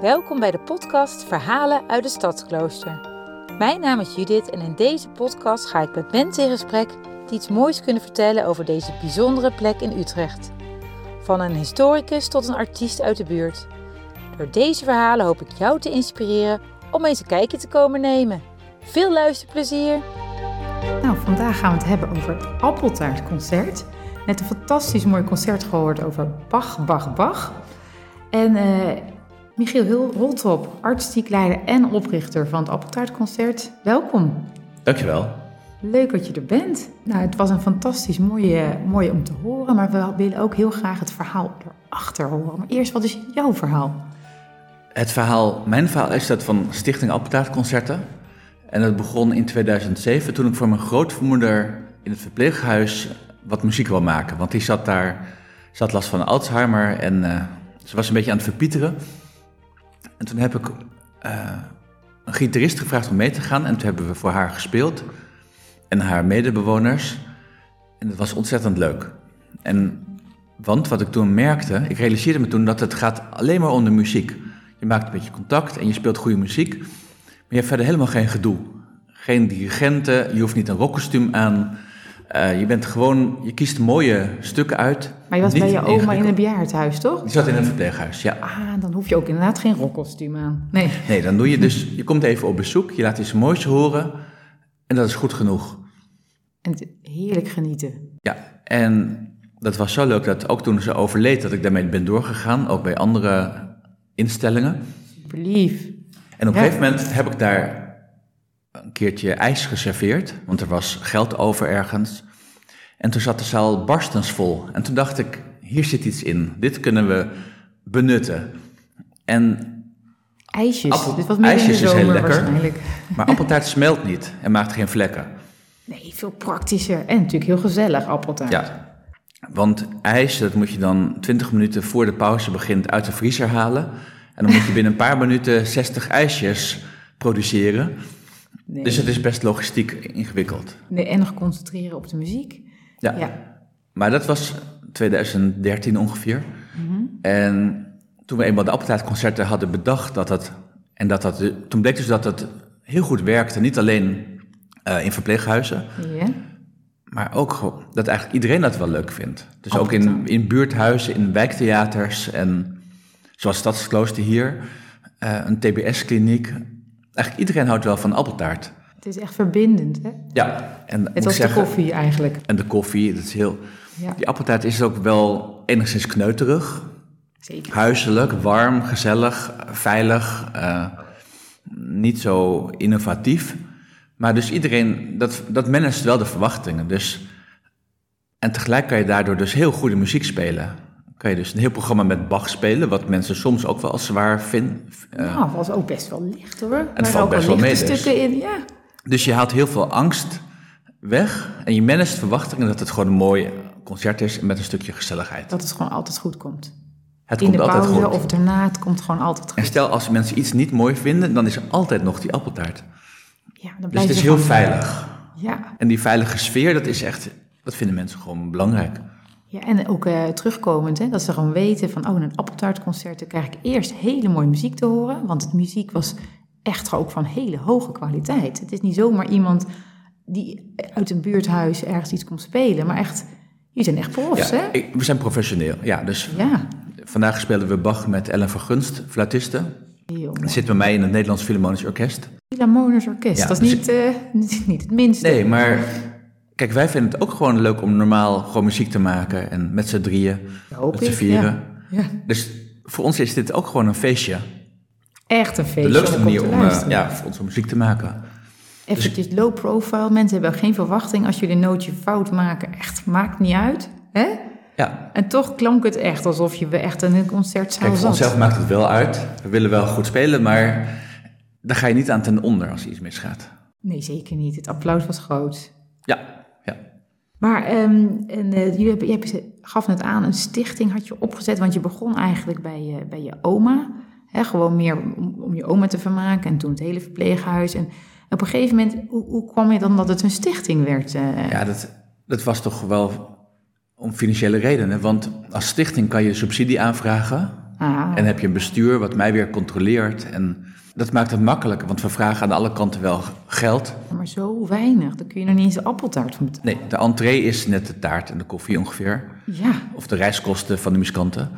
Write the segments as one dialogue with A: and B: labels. A: Welkom bij de podcast Verhalen uit het Stadsklooster. Mijn naam is Judith en in deze podcast ga ik met mensen in gesprek die iets moois kunnen vertellen over deze bijzondere plek in Utrecht. Van een historicus tot een artiest uit de buurt. Door deze verhalen hoop ik jou te inspireren om eens een kijkje te komen nemen. Veel luisterplezier!
B: Nou, vandaag gaan we het hebben over het appeltaartconcert. Net een fantastisch mooi concert gehoord over Bach, Bach, Bach. En eh Michiel Hul- Holtrop, artistiek leider en oprichter van het appeltaartconcert. Welkom.
C: Dankjewel.
B: Leuk dat je er bent. Nou, het was een fantastisch mooie, mooie om te horen, maar we willen ook heel graag het verhaal erachter horen. Maar eerst, wat is jouw verhaal?
C: Het verhaal, mijn verhaal is dat van Stichting Appeltaartconcerten. En dat begon in 2007 toen ik voor mijn grootmoeder in het verpleeghuis wat muziek wil maken. Want die zat daar, zat last van Alzheimer en eh, ze was een beetje aan het verpieteren. En toen heb ik eh, een gitarist gevraagd om mee te gaan. En toen hebben we voor haar gespeeld en haar medebewoners. En dat was ontzettend leuk. En want wat ik toen merkte, ik realiseerde me toen dat het gaat alleen maar om de muziek. Je maakt een beetje contact en je speelt goede muziek, maar je hebt verder helemaal geen gedoe. Geen dirigenten, je hoeft niet een rockkostuum aan. Eh, je bent gewoon, je kiest mooie stukken uit.
B: Maar je was
C: Niet
B: bij je oma in
C: ingewikkeld.
B: het bejaardenhuis, toch?
C: Die zat in een verpleeghuis, ja.
B: Ah, dan hoef je ook inderdaad geen rockkostuum aan. Nee.
C: Nee, dan doe je dus, je komt even op bezoek, je laat iets moois horen en dat is goed genoeg.
B: En het- heerlijk genieten.
C: Ja, en dat was zo leuk dat ook toen ze overleed, dat ik daarmee ben doorgegaan, ook bij andere instellingen.
B: Super lief.
C: En op
B: Ja.
C: een gegeven moment heb ik daar een keertje ijs geserveerd, want er was geld over ergens. En toen zat de zaal barstens vol. En toen dacht ik, hier zit iets in, dit kunnen we benutten. En,
B: IJsjes.
C: Appel-
B: Dit was meer
C: ijsjes is
B: in de
C: heel
B: zomer
C: lekker.
B: waarschijnlijk.
C: maar appeltaart smelt niet en maakt geen vlekken.
B: Nee, veel praktischer. En natuurlijk heel gezellig, appeltaart.
C: Ja, want ijs, dat moet je dan 20 minuten voor de pauze begint uit de vriezer halen. En dan moet je binnen een paar minuten 60 ijsjes produceren.
B: Nee.
C: Dus het is best logistiek ingewikkeld.
B: Nee, en nog concentreren op de muziek.
C: Ja.
B: Ja.
C: Maar dat was 2013 ongeveer. Mhm. En toen we eenmaal de appeltaartconcerten hadden bedacht dat dat... En dat dat, toen bleek dus dat dat heel goed werkte. Niet alleen eh, in verpleeghuizen,
B: Ja.
C: maar ook gewoon dat eigenlijk iedereen dat wel leuk vindt. Dus ook in, in buurthuizen, in wijktheaters en zoals Stadsklooster hier, eh, een TBS-kliniek. Eigenlijk iedereen houdt wel van appeltaart.
B: Het is echt verbindend, hè?
C: Ja, en moet ik
B: Het was de
C: zeggen-
B: koffie eigenlijk.
C: En de koffie, dat is heel...
B: Ja,
C: Die appeltaart is ook wel enigszins kneuterig.
B: zeker.
C: Huiselijk, warm, gezellig, veilig. eh, niet zo innovatief. Maar dus iedereen, dat, dat managt wel de verwachtingen. Dus, en tegelijk kan je daardoor dus heel goede muziek spelen. Kan je dus een heel programma met Bach spelen, wat mensen soms ook wel als zwaar vinden.
B: Nou, was ook best wel licht, hoor. En
C: valt best wel mee, dus.
B: stukken in, ja.
C: Dus je haalt heel veel angst weg en je managt verwachtingen dat het gewoon een mooi concert is met een stukje gezelligheid.
B: Dat het gewoon altijd goed komt.
C: Het
B: in de
C: komt altijd
B: pauze
C: goed.
B: of daarna, het komt gewoon altijd
C: En
B: goed.
C: stel als mensen iets niet mooi vinden, dan is er altijd nog die appeltaart.
B: Ja, dan
C: Dus
B: blijf
C: het is
B: je
C: heel
B: gewoon-
C: veilig.
B: Ja,
C: En die veilige sfeer, dat is echt, dat vinden mensen gewoon belangrijk.
B: ja en ook eh, terugkomend, hè, dat ze gewoon weten van... oh, in een appeltaartconcert dan krijg ik eerst hele mooie muziek te horen... want de muziek was echt ook van hele hoge kwaliteit. Het is niet zomaar iemand die uit een buurthuis ergens iets komt spelen... maar echt, jullie zijn echt profs,
C: ja,
B: hè?
C: ik- we zijn professioneel. Ja, dus
B: Ja,
C: vandaag spelen we Bach met Ellen van Gunst, fluitiste.
B: heel
C: Dat
B: mooi.
C: zit bij mij in het Nederlands Philharmonisch Orkest.
B: Philharmoners Orkest,
C: Ja,
B: dat is
C: dus-
B: niet, eh, niet het minste.
C: Nee, maar kijk, wij vinden het ook gewoon leuk om normaal gewoon muziek te maken en met z'n drieën,
B: Hoop
C: met z'n
B: ik,
C: vieren.
B: ja. Ja.
C: Dus voor ons is dit ook gewoon een feestje.
B: Echt een feestje.
C: De leukste manier om, eh,
B: ja.
C: ja, voor ons om muziek te maken. Dus-
B: Eventjes low profile. Mensen hebben geen verwachting als jullie een nootje fout maken. Echt, maakt niet uit. Hè?
C: Ja,
B: En toch klonk het echt alsof je echt in een concertzaal
C: Kijk, voor
B: zat.
C: onszelf maakt het wel uit. We willen wel goed spelen, maar daar ga je niet aan ten onder als iets misgaat.
B: Nee, zeker niet. Het applaus was groot.
C: Ja, ja.
B: Maar ehm, en, eh, jullie hebben, je hebt- gaf net aan, een stichting had je opgezet. Want je begon eigenlijk bij je, bij je oma. Hè? Gewoon meer om, om je oma te vermaken. En toen het hele verpleeghuis. En op een gegeven moment, hoe, hoe kwam je dan dat het een stichting werd? eh?
C: ja dat, dat was toch wel om financiële redenen. Want als stichting kan je subsidie aanvragen.
B: Ah.
C: En heb je een bestuur wat mij weer controleert. En dat maakt het makkelijker, want we vragen aan alle kanten wel geld.
B: Maar zo weinig, daar kun je nog niet eens een appeltaart van betalen.
C: Nee, de entree is net de taart en de koffie ongeveer.
B: Ja,
C: Of de reiskosten van de muzikanten.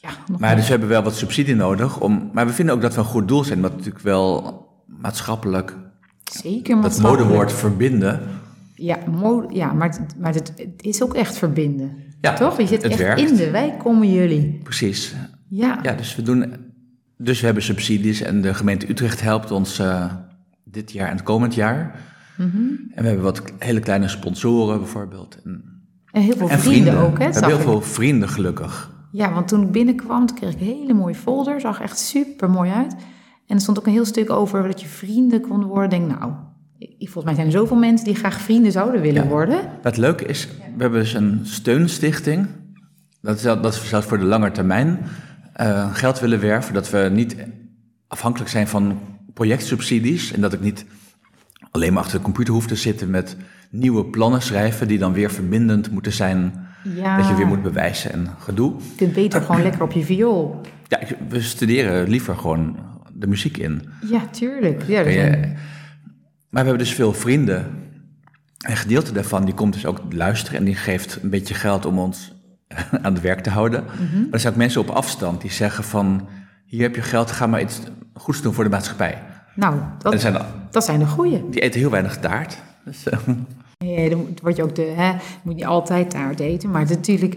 B: ja. Nog
C: Maar dus we hebben wel wat subsidie nodig. Om, maar we vinden ook dat we een goed doel zijn. Wat natuurlijk wel maatschappelijk,
B: Zeker
C: dat
B: maatschappelijk.
C: modewoord verbinden.
B: Ja, mo- ja maar, het, maar het, het is ook echt verbinden.
C: Ja,
B: Toch? Je zit
C: het
B: echt
C: werkt.
B: in de wijk, komen jullie.
C: Precies.
B: Ja.
C: Ja, dus we doen. Dus we hebben subsidies en de gemeente Utrecht helpt ons eh, dit jaar en het komend jaar.
B: Mhm.
C: En we hebben wat k- hele kleine sponsoren bijvoorbeeld. En,
B: En heel veel
C: en
B: vrienden, ook, hè?
C: We hebben
B: zag
C: heel
B: ik.
C: veel vrienden gelukkig.
B: Ja, want toen ik binnenkwam, toen kreeg ik een hele mooie folder. Zag echt super mooi uit. En er stond ook een heel stuk over dat je vrienden kon worden. Ik Denk, nou, ik, volgens mij zijn er zoveel mensen die graag vrienden zouden willen
C: Ja.
B: worden.
C: Wat leuk is, we hebben dus een steunstichting. Dat is, dat dat is zelfs voor de lange termijn. eh, geld willen werven, dat we niet afhankelijk zijn van projectsubsidies. En dat ik niet alleen maar achter de computer hoef te zitten met nieuwe plannen schrijven... die dan weer verbindend moeten zijn,
B: Ja,
C: dat je weer moet bewijzen en gedoe.
B: je kunt beter gewoon lekker op je viool.
C: Ja, ik- we studeren liever gewoon de muziek in.
B: Ja, tuurlijk. Ja, dus dat
C: Kun
B: is
C: je-
B: een-
C: Maar we hebben dus veel vrienden. Een gedeelte daarvan die komt dus ook luisteren en die geeft een beetje geld om ons aan het werk te houden. Maar er zijn ook mensen op afstand die zeggen van hier heb je geld, ga maar iets goeds doen voor de maatschappij.
B: Nou,
C: En er
B: dat,
C: zijn,
B: dat zijn de goeie.
C: die eten heel weinig taart. Dus, eh,
B: Nee, dan moet- word je ook de, hè, moet niet altijd taart eten, maar natuurlijk,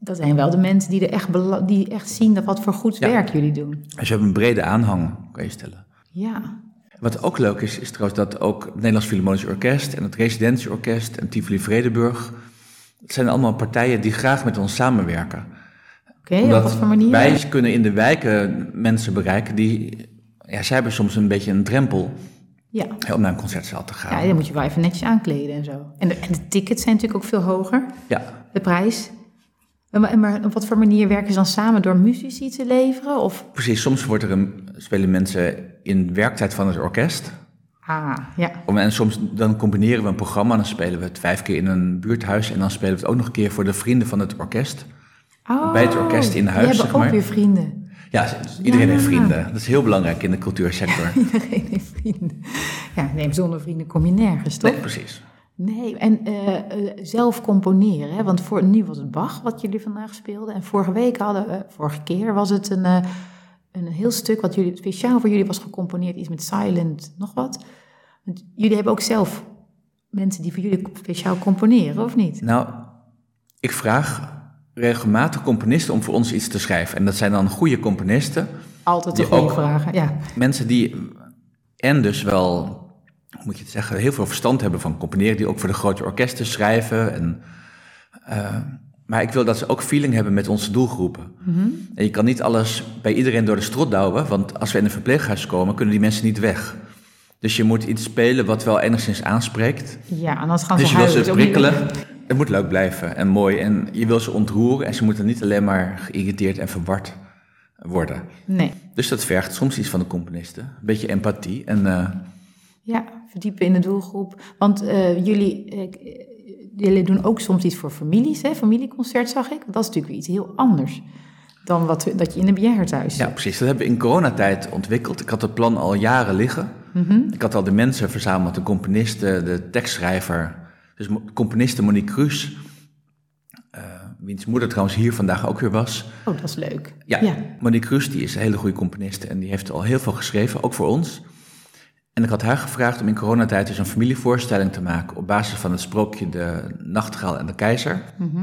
B: dat zijn wel de mensen die er echt, bela- die echt zien dat wat voor goed
C: Ja.
B: werk jullie doen.
C: dus we hebben een brede aanhang, kan je stellen.
B: Ja,
C: Wat ook leuk is, is trouwens dat ook het Nederlands Philharmonisch Orkest en het Residentieorkest en Tivoli Vredenburg. Het zijn allemaal partijen die graag met ons samenwerken.
B: oké, op
C: Omdat
B: wat voor manier?
C: Wij kunnen in de wijken mensen bereiken die. Ja, zij hebben soms een beetje een drempel
B: Ja.
C: hè, om naar een concertzaal te gaan.
B: ja, dan moet je wel even netjes aankleden en zo. En de, en de tickets zijn natuurlijk ook veel hoger,
C: Ja.
B: de prijs. En Maar, en maar op wat voor manier werken ze dan samen door muzici te leveren? Of,
C: precies. Soms wordt er een, spelen mensen in werktijd van het orkest.
B: ah, ja,
C: Om- En soms dan combineren we een programma. Dan spelen we het vijf keer in een buurthuis. En dan spelen we het ook nog een keer voor de vrienden van het orkest.
B: Oh,
C: Bij het orkest in huis,
B: die hebben
C: zeg
B: ook
C: maar.
B: weer vrienden.
C: Ja, z- iedereen
B: Ja.
C: heeft vrienden. Dat is heel belangrijk in de cultuursector.
B: Iedereen heeft vrienden. Ja, nee, zonder vrienden kom je nergens, toch?
C: Nee, precies.
B: Nee, en eh, eh, zelf componeren. Hè? Want voor, nu was het Bach wat jullie vandaag speelden. En vorige week hadden we, eh, vorige keer was het een, eh, een heel stuk wat jullie, speciaal voor jullie was gecomponeerd. Iets met silent, nog wat. Want jullie hebben ook zelf mensen die voor jullie speciaal componeren, of niet?
C: Nou, ik vraag regelmatig componisten om voor ons iets te schrijven. En dat zijn dan goede componisten.
B: Altijd de
C: Die
B: goede
C: ook.
B: vragen. Ja,
C: mensen die en dus wel, hoe moet je het zeggen, heel veel verstand hebben van componeren, die ook voor de grote orkesten schrijven. En, eh, maar ik wil dat ze ook feeling hebben met onze doelgroepen.
B: Mhm.
C: En je kan niet alles bij iedereen door de strot douwen, want als we in een verpleeghuis komen, kunnen die mensen niet weg. Dus je moet iets spelen wat wel enigszins aanspreekt.
B: ja anders gaan ze
C: Dus je wil
B: huilen.
C: ze
B: Is ook niet-
C: prikkelen. Het moet leuk blijven en mooi. En je wil ze ontroeren en ze moeten niet alleen maar geïrriteerd en verward worden.
B: Nee.
C: Dus dat vergt soms iets van de componisten. Een beetje empathie. En eh,
B: Ja, verdiepen in de doelgroep. Want eh, jullie, eh, k- eh, jullie doen ook soms iets voor families, hè? Familieconcert zag ik. Dat is natuurlijk weer iets heel anders dan wat, we- dat je in een bejaardentehuis
C: ja,
B: doet.
C: precies. Dat hebben we in coronatijd ontwikkeld. Ik had het plan al jaren liggen. Ik had al de mensen verzameld. De componisten, de tekstschrijver. Dus mo- componiste Monique Cruz. eh, wiens moeder trouwens hier vandaag ook weer was.
B: Oh, dat is leuk.
C: Ja, Monique Cruz die is een hele goede componiste. En die heeft al heel veel geschreven, ook voor ons. En ik had haar gevraagd om in coronatijd dus een familievoorstelling te maken... op basis van het sprookje De Nachtegaal en de Keizer.
B: Mhm.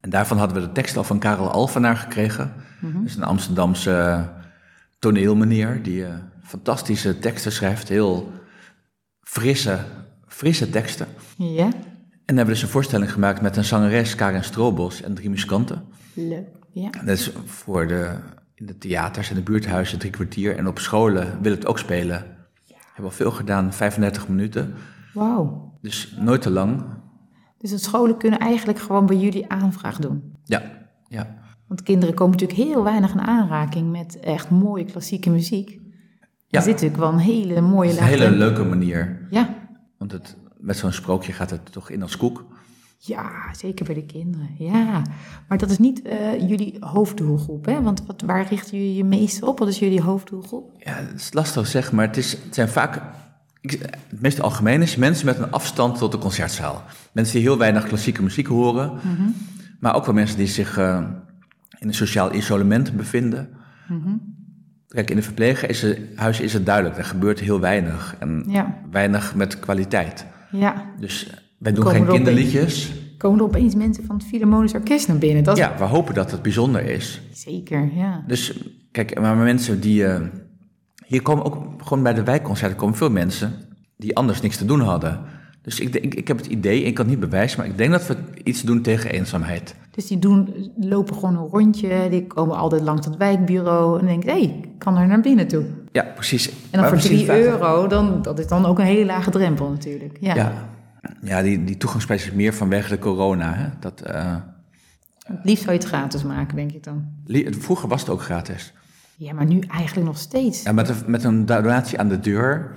C: En daarvan hadden we de tekst al van Karel Alvenaar gekregen. Dat is een Amsterdamse eh, toneelmeneer die eh, fantastische teksten schrijft. Heel frisse, frisse teksten.
B: Ja,
C: En hebben we dus een voorstelling gemaakt met een zangeres, Karen Stroobos, en drie muzikanten.
B: leuk. Ja.
C: En dat is Dus voor de, in de theaters en de buurthuizen drie kwartier. En op scholen wil het ook spelen. Hebben al veel gedaan, 35 minuten.
B: Wauw.
C: Dus nooit te lang.
B: Dus de scholen kunnen eigenlijk gewoon bij jullie aanvraag doen.
C: Ja, ja.
B: Want kinderen komen natuurlijk heel weinig in aanraking met echt mooie klassieke muziek.
C: Ja.
B: Er zit natuurlijk wel een hele mooie
C: Het is een
B: laag
C: hele
B: in.
C: leuke manier.
B: Ja,
C: Want het, met zo'n sprookje gaat het toch in als koek.
B: Ja, zeker bij de kinderen. Ja, maar dat is niet eh, jullie hoofddoelgroep, hè? Want wat, waar richten jullie je meest op? Wat is jullie hoofddoelgroep?
C: Ja, het is lastig te zeggen, maar het, is, het zijn vaak... ik- het meest algemeen is mensen met een afstand tot de concertzaal. Mensen die heel weinig klassieke muziek horen.
B: Mhm.
C: Maar ook wel mensen die zich eh, in een sociaal isolement bevinden.
B: Mhm.
C: Kijk, in de verpleeghuis is het duidelijk. Er gebeurt heel weinig. En
B: Ja,
C: weinig met kwaliteit.
B: ja.
C: Dus wij doen
B: Komen
C: geen
B: erop in.
C: kinderliedjes.
B: Komen er opeens mensen van het Philharmonisch Orkest naar binnen? Dat is
C: Ja, we hopen dat het bijzonder is.
B: zeker, ja.
C: Dus kijk, maar mensen die. eh, hier komen ook gewoon bij de wijkconcerten komen veel mensen die anders niks te doen hadden. Dus ik, denk- ik, ik heb het idee, ik kan het niet bewijzen, maar ik denk dat we iets doen tegen eenzaamheid.
B: Dus die doen, lopen gewoon een rondje, die komen altijd langs het wijkbureau en denken, hé, ik kan er naar binnen toe. En
C: Ja, precies. En
B: dan voor 3 euro, dan, dat is dan ook een hele lage drempel natuurlijk. Ja,
C: Ja, ja die, die toegangsprijs is meer vanwege de corona. Hè? Dat, eh,
B: Het liefst zou je het gratis maken, denk ik dan.
C: li- vroeger was het ook gratis.
B: Ja, maar nu eigenlijk nog steeds.
C: Ja, met, een, met een donatie aan de deur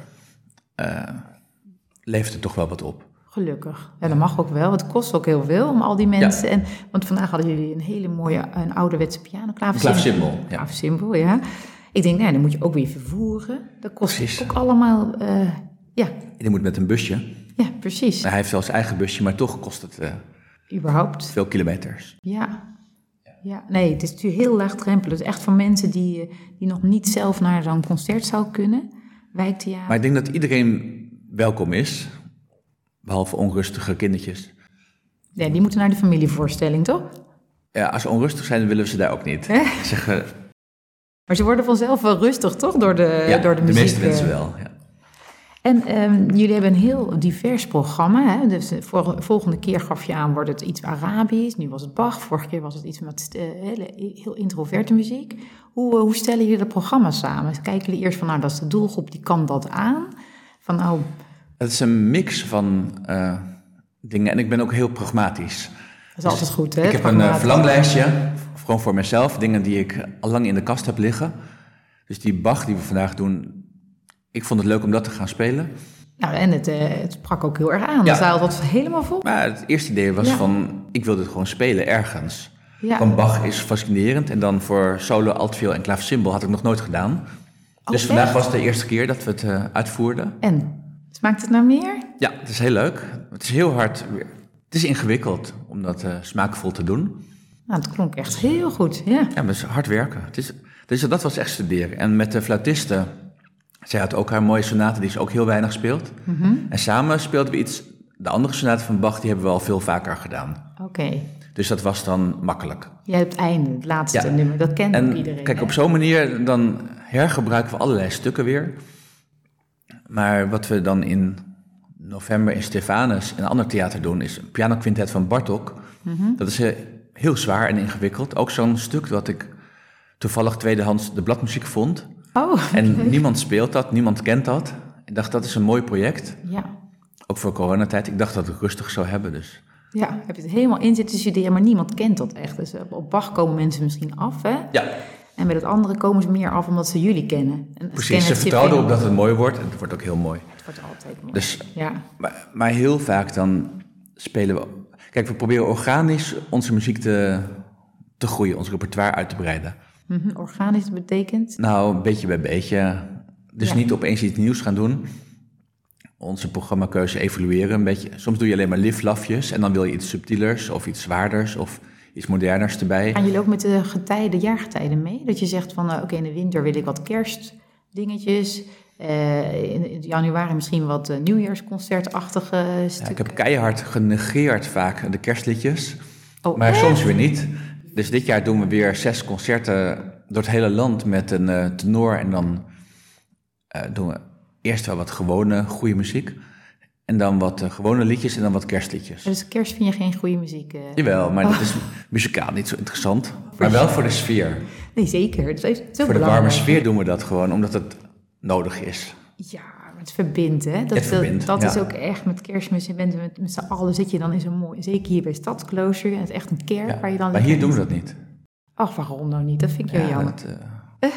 C: eh, levert het toch wel wat op.
B: Gelukkig. Ja, dat mag ook wel. Het kost ook heel veel om al die mensen. En, want vandaag hadden jullie een hele mooie, een ouderwetse pianoklaafsymbol.
C: Klaafsymbol, ja.
B: Klaafsymbol, ja. Ik denk, nou, dan moet je ook weer vervoeren. Dat kost
C: Precies.
B: ook allemaal, eh, ja,
C: Die moet met een busje.
B: ja, precies.
C: Hij heeft wel zijn eigen busje, maar toch kost het eh,
B: Überhaupt,
C: veel kilometers.
B: ja. Ja, nee, het is natuurlijk heel laagdrempelig. Het is echt voor mensen die, eh, die nog niet zelf naar zo'n concertzaal kunnen. Wijktheater.
C: Maar ik denk dat iedereen welkom is, behalve onrustige kindertjes.
B: Ja, die moeten naar de familievoorstelling, toch?
C: Ja, als ze onrustig zijn, willen we ze daar ook niet.
B: Hè?
C: Zeggen,
B: Maar ze worden vanzelf wel rustig, toch? Door de,
C: ja,
B: door de,
C: de,
B: muziek.
C: meeste mensen
B: eh.
C: wel. Ja.
B: En ehm, jullie hebben een heel divers programma. Hè? Dus de vor- volgende keer gaf je aan, wordt het iets Arabisch. Nu was het Bach. Vorige keer was het iets met eh, hele, heel introverte muziek. Hoe, eh, hoe stellen jullie dat programma samen? Kijken jullie eerst van, nou, dat is de doelgroep, die kan dat aan. Van, nou,
C: Het is een mix van eh, dingen en ik ben ook heel pragmatisch.
B: dat is altijd goed, hè?
C: Dus Ik heb een eh,
B: Programma.
C: verlanglijstje, v- gewoon voor mezelf, dingen die ik al lang in de kast heb liggen. Dus die Bach die we vandaag doen, ik vond het leuk om dat te gaan spelen.
B: Nou, en het, eh, het sprak ook heel erg aan.
C: Ja.
B: De zaal was helemaal vol.
C: Maar het eerste idee was
B: Ja.
C: van, ik wil dit gewoon spelen ergens.
B: Ja.
C: Van Bach is fascinerend en dan voor solo, altviool en klaafsymbol had ik nog nooit gedaan. dus vandaag
B: Oh, echt?
C: was de eerste keer dat we het eh, uitvoerden.
B: En, smaakt het nou meer?
C: Ja, het is heel leuk. Het is heel hard. weer- Het is ingewikkeld om dat eh, smaakvol te doen.
B: Nou, het klonk echt heel goed, ja.
C: Ja, maar het is hard werken. Het is, dus dat was echt studeren. En met de fluitiste, zij had ook haar mooie sonate die ze ook heel weinig speelt.
B: Mhm.
C: En samen speelden we iets, de andere sonate van Bach, die hebben we al veel vaker gedaan.
B: Oké.
C: Dus dat was dan makkelijk.
B: Jij hebt het einde, het laatste
C: Ja.
B: nummer. Dat kent ook
C: En
B: iedereen.
C: kijk,
B: hè?
C: op zo'n manier dan hergebruiken we allerlei stukken weer. Maar wat we dan in november in Stefanus, in een ander theater doen, is een pianoquintet van Bartok.
B: Mhm.
C: Dat is eh, heel zwaar en ingewikkeld. Ook zo'n stuk wat ik toevallig tweedehands de bladmuziek vond.
B: Oh,
C: En niemand speelt dat, niemand kent dat. Ik dacht, dat is een mooi project.
B: ja.
C: Ook voor coronatijd. Ik dacht dat ik rustig zou hebben, dus.
B: Ja, heb je het helemaal in zitten studeren, maar niemand kent dat echt. Dus eh, op Bach komen mensen misschien af, hè?
C: Ja,
B: En met het andere komen ze meer af omdat ze jullie kennen. En
C: precies. Ze vertrouwden op dat het mooi wordt. En het wordt ook heel mooi.
B: Het wordt altijd mooi.
C: Dus
B: Ja,
C: Maar, maar heel vaak dan spelen we. Kijk, we proberen organisch onze muziek te, te groeien, ons repertoire uit te breiden.
B: Mhm, organisch betekent.
C: Nou, beetje bij beetje. Dus
B: Ja.
C: niet opeens iets nieuws gaan doen. Onze programmakeuze evolueren een beetje. Soms doe je alleen maar liflafjes en dan wil je iets subtielers of iets zwaarders of iets moderners erbij.
B: Gaan jullie ook met de getijden, jaargetijden mee? Dat je zegt van, eh, oké, in de winter wil ik wat kerstdingetjes. eh, in, in januari misschien wat eh, nieuwjaarsconcertachtige
C: Ja, ik
B: stukken.
C: heb keihard genegeerd vaak de kerstliedjes,
B: Oh,
C: maar
B: echt?
C: soms weer niet. Dus dit jaar doen we weer zes concerten door het hele land met een eh, tenor. En dan eh, doen we eerst wel wat gewone, goede muziek. En dan wat eh, gewone liedjes en dan wat kerstliedjes.
B: Dus kerst vind je geen goede muziek? eh?
C: Jawel, maar dat is muzikaal niet zo interessant. Maar wel voor de sfeer.
B: Nee, zeker. Dat is, dat is ook
C: Voor de warme
B: belangrijk.
C: sfeer doen we dat gewoon, omdat het nodig is.
B: Ja, maar het verbindt, hè? Dat,
C: Het verbindt,
B: dat, dat
C: ja.
B: is ook echt met kerstmis. Je bent met, met z'n allen, zit je dan in zo'n mooi... Zeker hier bij Stadsklooster, en het is echt een kerk
C: Ja.
B: waar je dan...
C: Maar hier doen we dat niet.
B: Ach, waarom nou niet? Dat vind ik heel jammer.
C: dat eh,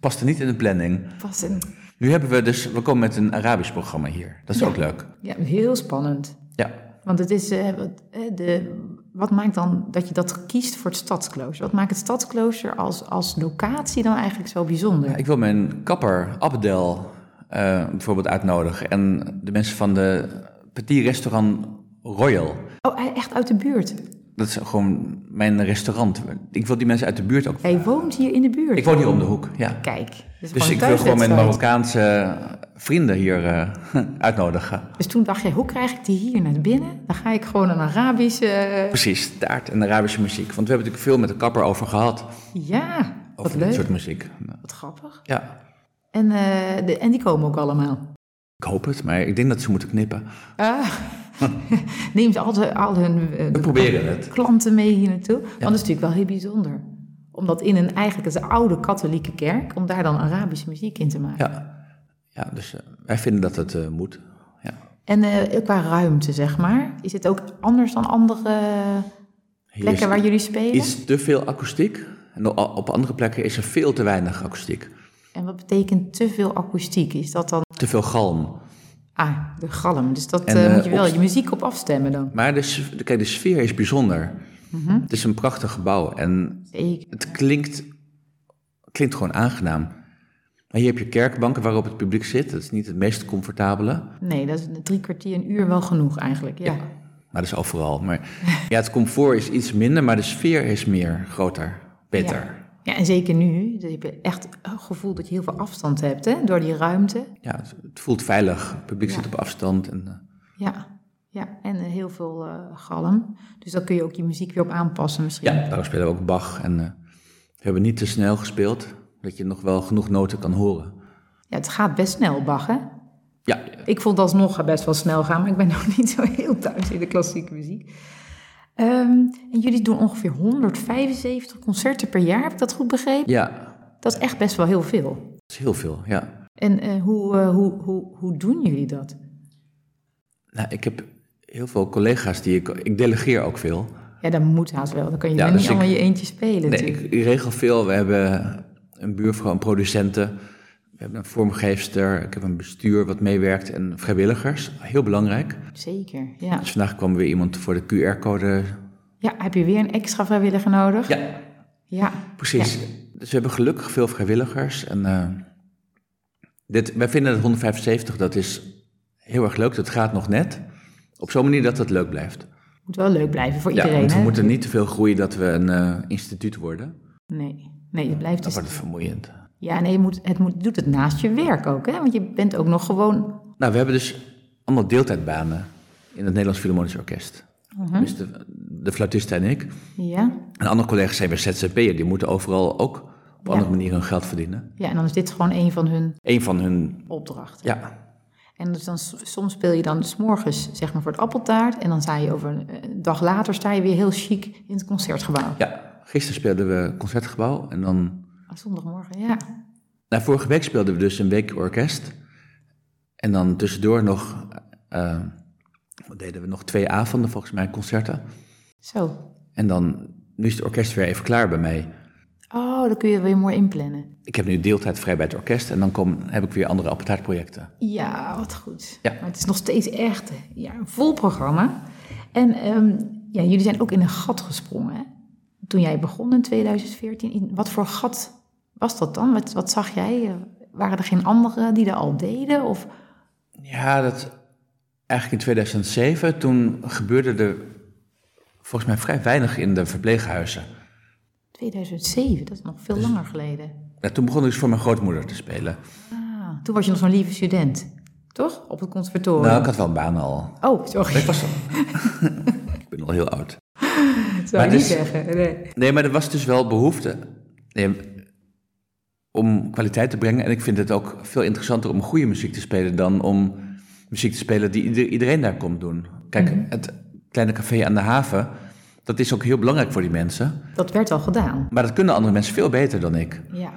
C: past er niet in de planning.
B: Pas een...
C: Nu hebben we dus, we komen met een Arabisch programma hier. Dat is
B: Ja.
C: ook leuk.
B: Ja, heel spannend.
C: Ja.
B: Want het is, eh, wat, eh, de, wat maakt dan dat je dat kiest voor het stadsklooster? Wat maakt het stadsklooster als, als locatie dan eigenlijk zo bijzonder?
C: Ja, Ik wil mijn kapper, Abdel, eh, bijvoorbeeld uitnodigen. En de mensen van de Petit Restaurant Royal.
B: Oh, hij- echt uit de buurt.
C: Dat is gewoon mijn restaurant. Ik wil die mensen uit de buurt ook.
B: Hij woont hier in de buurt.
C: Ik woon hier om de hoek, ja.
B: Kijk, dit is
C: Dus
B: een
C: ik wil gewoon mijn
B: thuiswedstrijd.
C: Marokkaanse vrienden hier eh, uitnodigen.
B: Dus toen dacht je, hoe krijg ik die hier naar binnen? Dan ga ik gewoon een Arabische... eh,
C: Precies, taart en Arabische muziek. Want we hebben natuurlijk veel met de kapper over gehad.
B: Ja, wat
C: Over dit
B: leuk.
C: soort muziek.
B: Wat grappig.
C: Ja,
B: En, eh, de, en die komen ook allemaal.
C: ik hoop het, maar ik denk dat ze moeten knippen.
B: Ah, neem ze al, de- al hun eh,
C: We proberen het.
B: klanten mee hier naartoe. Want dat is natuurlijk wel heel bijzonder. Omdat in een eigenlijk het is een oude katholieke kerk, om daar dan Arabische muziek in te maken.
C: Ja, ja dus eh, wij vinden dat het eh, moet. Ja.
B: En eh, qua ruimte, zeg maar, is het ook anders dan andere
C: Hier
B: plekken
C: is
B: waar jullie spelen?
C: Iets te veel akoestiek. En o- op andere plekken is er veel te weinig akoestiek.
B: En wat betekent te veel akoestiek? Is dat dan,
C: Te veel galm.
B: ah, de galm. Dus dat
C: En,
B: eh,
C: eh,
B: moet je wel
C: op-
B: je muziek op afstemmen dan.
C: Maar de, s- kijk, de sfeer is bijzonder.
B: Mhm.
C: Het is een prachtig gebouw en
B: Zeker.
C: het klinkt, klinkt gewoon aangenaam. Maar hier heb je kerkbanken waarop het publiek zit. Dat is niet het meest comfortabele.
B: Nee, dat is drie kwartier, een uur wel genoeg eigenlijk, ja.
C: Maar dat is overal. Maar ja, het comfort is iets minder, maar de sfeer is meer, groter, beter.
B: Ja, en zeker nu, dan heb je echt het gevoel dat je heel veel afstand hebt, hè, door die ruimte.
C: Ja, het, het voelt veilig. Het publiek zit op afstand. En, eh,
B: Ja, ja en eh, heel veel eh, galm. Dus daar kun je ook je muziek weer op aanpassen misschien.
C: Ja, daarom spelen we ook Bach. En eh, we hebben niet te snel gespeeld, dat je nog wel genoeg noten kan horen.
B: Ja, het gaat best snel, Bach, hè?
C: Ja,
B: Ik vond alsnog best wel snel gaan, maar ik ben nog niet zo heel thuis in de klassieke muziek. Ehm, en jullie doen ongeveer 175 concerten per jaar, heb ik dat goed begrepen?
C: ja, dat
B: Dat is echt best wel heel veel.
C: is heel veel, ja.
B: En eh, hoe, eh, hoe, hoe, hoe doen jullie dat?
C: Nou, ik heb heel veel collega's die ik... Ik delegeer ook veel.
B: Ja, dat moet haast wel. Dan kan je
C: Ja,
B: wel
C: dus
B: niet
C: ik-
B: allemaal je eentje spelen
C: Nee,
B: natuurlijk.
C: ik, ik regel veel. We hebben een buurvrouw, een producenten. We hebben een vormgeefster. Ik heb een bestuur wat meewerkt. En vrijwilligers, heel belangrijk.
B: Zeker, ja.
C: Dus vandaag kwam weer iemand voor de QR-code.
B: Ja, heb je weer een extra vrijwilliger nodig?
C: Ja,
B: Ja,
C: Precies. Dus we hebben gelukkig veel vrijwilligers. En eh, dit, wij vinden het 175, dat is heel erg leuk. Dat gaat nog net. Op zo'n manier dat het leuk blijft.
B: moet wel leuk blijven voor
C: ja,
B: iedereen,
C: want we
B: hè?
C: moeten niet te veel groeien dat we een eh, instituut worden.
B: Nee, nee, je blijft
C: Dan
B: dus...
C: wordt het vermoeiend.
B: Ja, nee, je moet, het moet, doet het naast je werk ook, hè? Want je bent ook nog gewoon...
C: Nou, we hebben dus allemaal deeltijdbanen in het Nederlands Philharmonisch Orkest.
B: Mhm.
C: Dus de, de fluitist en ik.
B: Ja,
C: En andere collega's zijn weer ZZP'er. Die moeten overal ook op
B: Ja.
C: andere manier hun geld verdienen.
B: ja en dan is dit gewoon een van hun
C: Eén van hun,
B: opdrachten.
C: ja,
B: En dus dan, s- soms speel je dan s'morgens zeg maar voor het appeltaart... en dan sta je over een, eh, een dag later sta je weer heel chic in het concertgebouw.
C: Ja, gisteren speelden we Concertgebouw. En dan,
B: Ah, Zondagmorgen, ja.
C: nou, vorige week speelden we dus een week orkest. En dan tussendoor nog, eh, wat deden we nog twee avonden volgens mij, concerten.
B: Zo.
C: En dan, nu is het orkest weer even klaar bij mij.
B: Oh, dan kun je weer mooi inplannen.
C: Ik heb nu deeltijd vrij bij het orkest en dan kom, heb ik weer andere appetijtprojecten.
B: Ja, wat goed.
C: Eh, Ja.
B: Maar het is nog steeds echt ja, een vol programma. En ehm, ja, jullie zijn ook in een gat gesprongen. Hè? Toen jij begon in 2014, in wat voor gat was dat dan? Wat, wat zag jij? Eh, Waren er geen anderen die dat al deden? Of,
C: Ja, dat eigenlijk in 2007, toen gebeurde er volgens mij vrij weinig in de verpleeghuizen.
B: 2007, dat is nog
C: Dus
B: veel langer geleden.
C: Ja, toen begon ik dus voor mijn grootmoeder te spelen.
B: Ah, toen was je nog zo'n lieve student, toch? Op het conservatorium.
C: Nou, ik had wel een baan al.
B: Oh, sorry.
C: Ik was al... ik ben al heel oud.
B: Dat zou je
C: maar
B: niet
C: dus-
B: zeggen. Nee.
C: Nee, maar er was dus wel behoefte nee, om kwaliteit te brengen. En ik vind het ook veel interessanter om goede muziek te spelen dan om muziek te spelen die ieder- iedereen daar komt doen. Kijk, het kleine café aan de haven, dat is ook heel belangrijk voor die mensen.
B: Dat werd al gedaan.
C: Maar dat kunnen andere mensen veel beter dan ik.
B: Ja.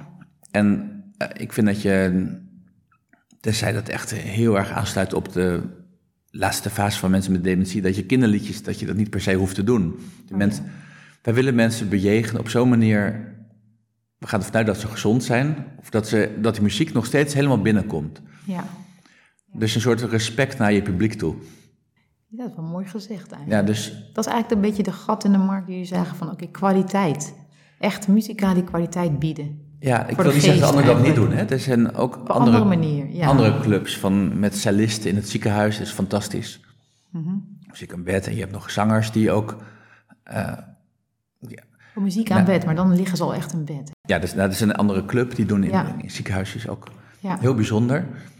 C: En eh, ik vind dat je, tenzij dat echt heel erg aansluit op de laatste fase van mensen met dementie, dat je kinderliedjes, dat je dat niet per se hoeft te doen. De mens, wij willen mensen bejegenen op zo'n manier, we gaan ervan uit dat ze gezond zijn, of dat, ze, dat die muziek nog steeds helemaal binnenkomt.
B: ja.
C: Dus een soort respect naar je publiek toe.
B: Ja, dat is wel mooi gezegd eigenlijk.
C: Ja, dus
B: Dat is eigenlijk een beetje de gat in de markt die jullie zagen van, oké, kwaliteit. Echt muzikale kwaliteit bieden.
C: ja, ik
B: Voor
C: wil
B: de
C: niet zeggen dat
B: geest
C: anderen dat niet
B: eigenlijk.
C: doen. Hè. Er zijn ook
B: Op een andere,
C: andere,
B: manier, ja.
C: andere clubs van, met cellisten in het ziekenhuis. is fantastisch.
B: Mhm.
C: Dus ik een bed en je hebt nog zangers die ook... eh,
B: Voor muziek aan
C: Nou.
B: bed, maar dan liggen ze al echt in bed.
C: ja, dat is, nou, dat is een andere club. Die doen in,
B: Ja.
C: in ziekenhuisjes ook
B: Ja.
C: heel bijzonder.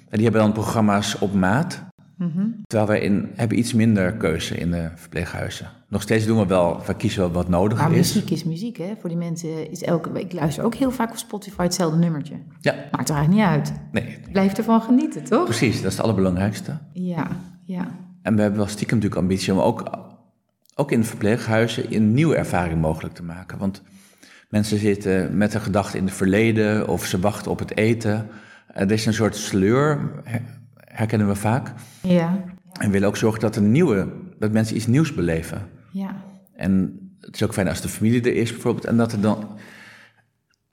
C: En die hebben dan programma's op maat.
B: Mhm.
C: Terwijl wij in, hebben iets minder keuze in de verpleeghuizen. Nog steeds doen we wel, we kiezen wel wat nodig
B: Maar
C: is.
B: muziek is muziek, hè. Voor die mensen is elke week... Ik luister ook heel vaak op Spotify hetzelfde nummertje.
C: Ja,
B: Maakt er eigenlijk niet uit.
C: nee,
B: Blijf ervan genieten, toch?
C: precies, dat is het allerbelangrijkste.
B: Ja, ja.
C: En we hebben wel stiekem natuurlijk ambitie om ook, ook in verpleeghuizen een nieuwe ervaring mogelijk te maken. Want mensen zitten met een gedachte in het verleden of ze wachten op het eten. Eh, Er is een soort sleur, her- herkennen we vaak.
B: Ja,
C: En we willen ook zorgen dat, een nieuwe, dat mensen iets nieuws beleven.
B: ja.
C: En het is ook fijn als de familie er is bijvoorbeeld. En dat er dan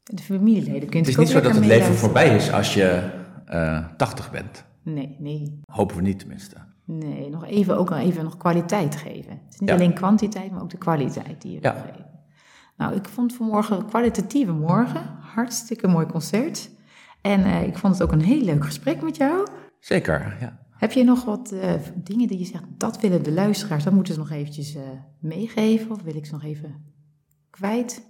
B: De familieleden kunt
C: Het is
B: ook
C: niet zo dat
B: lekker
C: het leven
B: meeluisteren.
C: voorbij is als je eh 80 bent.
B: Nee, nee.
C: Hopen we niet tenminste.
B: Nee, nog even, ook nog even nog kwaliteit geven. Het is niet
C: Ja.
B: alleen kwantiteit, maar ook de kwaliteit die je wil
C: Ja.
B: geven. Nou, ik vond vanmorgen een kwalitatieve morgen. Hartstikke mooi concert. En eh, ik vond het ook een heel leuk gesprek met jou.
C: Zeker, ja.
B: Heb je nog wat eh, dingen die je zegt, dat willen de luisteraars, dat moeten ze nog eventjes eh, meegeven? Of wil ik ze nog even kwijt?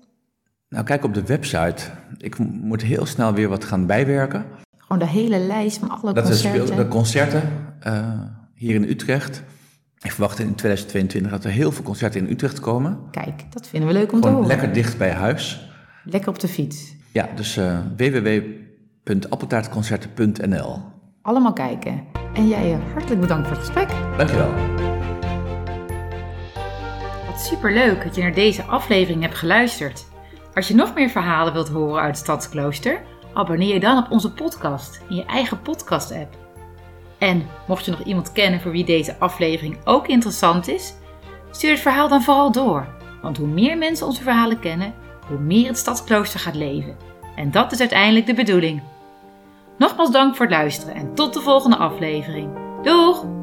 C: Nou, kijk op de website. Ik mo- moet heel snel weer wat gaan bijwerken.
B: Gewoon de hele lijst van alle
C: Dat is
B: concerten.
C: de concerten eh, hier in Utrecht. Ik verwacht in 2022 dat er heel veel concerten in Utrecht komen.
B: Kijk, dat vinden we leuk om te
C: Gewoon
B: horen.
C: lekker dicht bij huis.
B: Lekker op de fiets.
C: Ja, dus eh www.appeltaartconcerten.nl
B: Allemaal kijken. En jij eh, hartelijk bedankt voor het gesprek.
C: Dankjewel.
A: Wat superleuk dat je naar deze aflevering hebt geluisterd. Als je nog meer verhalen wilt horen uit Stadsklooster, abonneer je dan op onze podcast in je eigen podcast-app. En mocht je nog iemand kennen voor wie deze aflevering ook interessant is, stuur het verhaal dan vooral door. Want hoe meer mensen onze verhalen kennen, hoe meer het Stadsklooster gaat leven. En dat is uiteindelijk de bedoeling. Nogmaals dank voor het luisteren en tot de volgende aflevering. Doeg!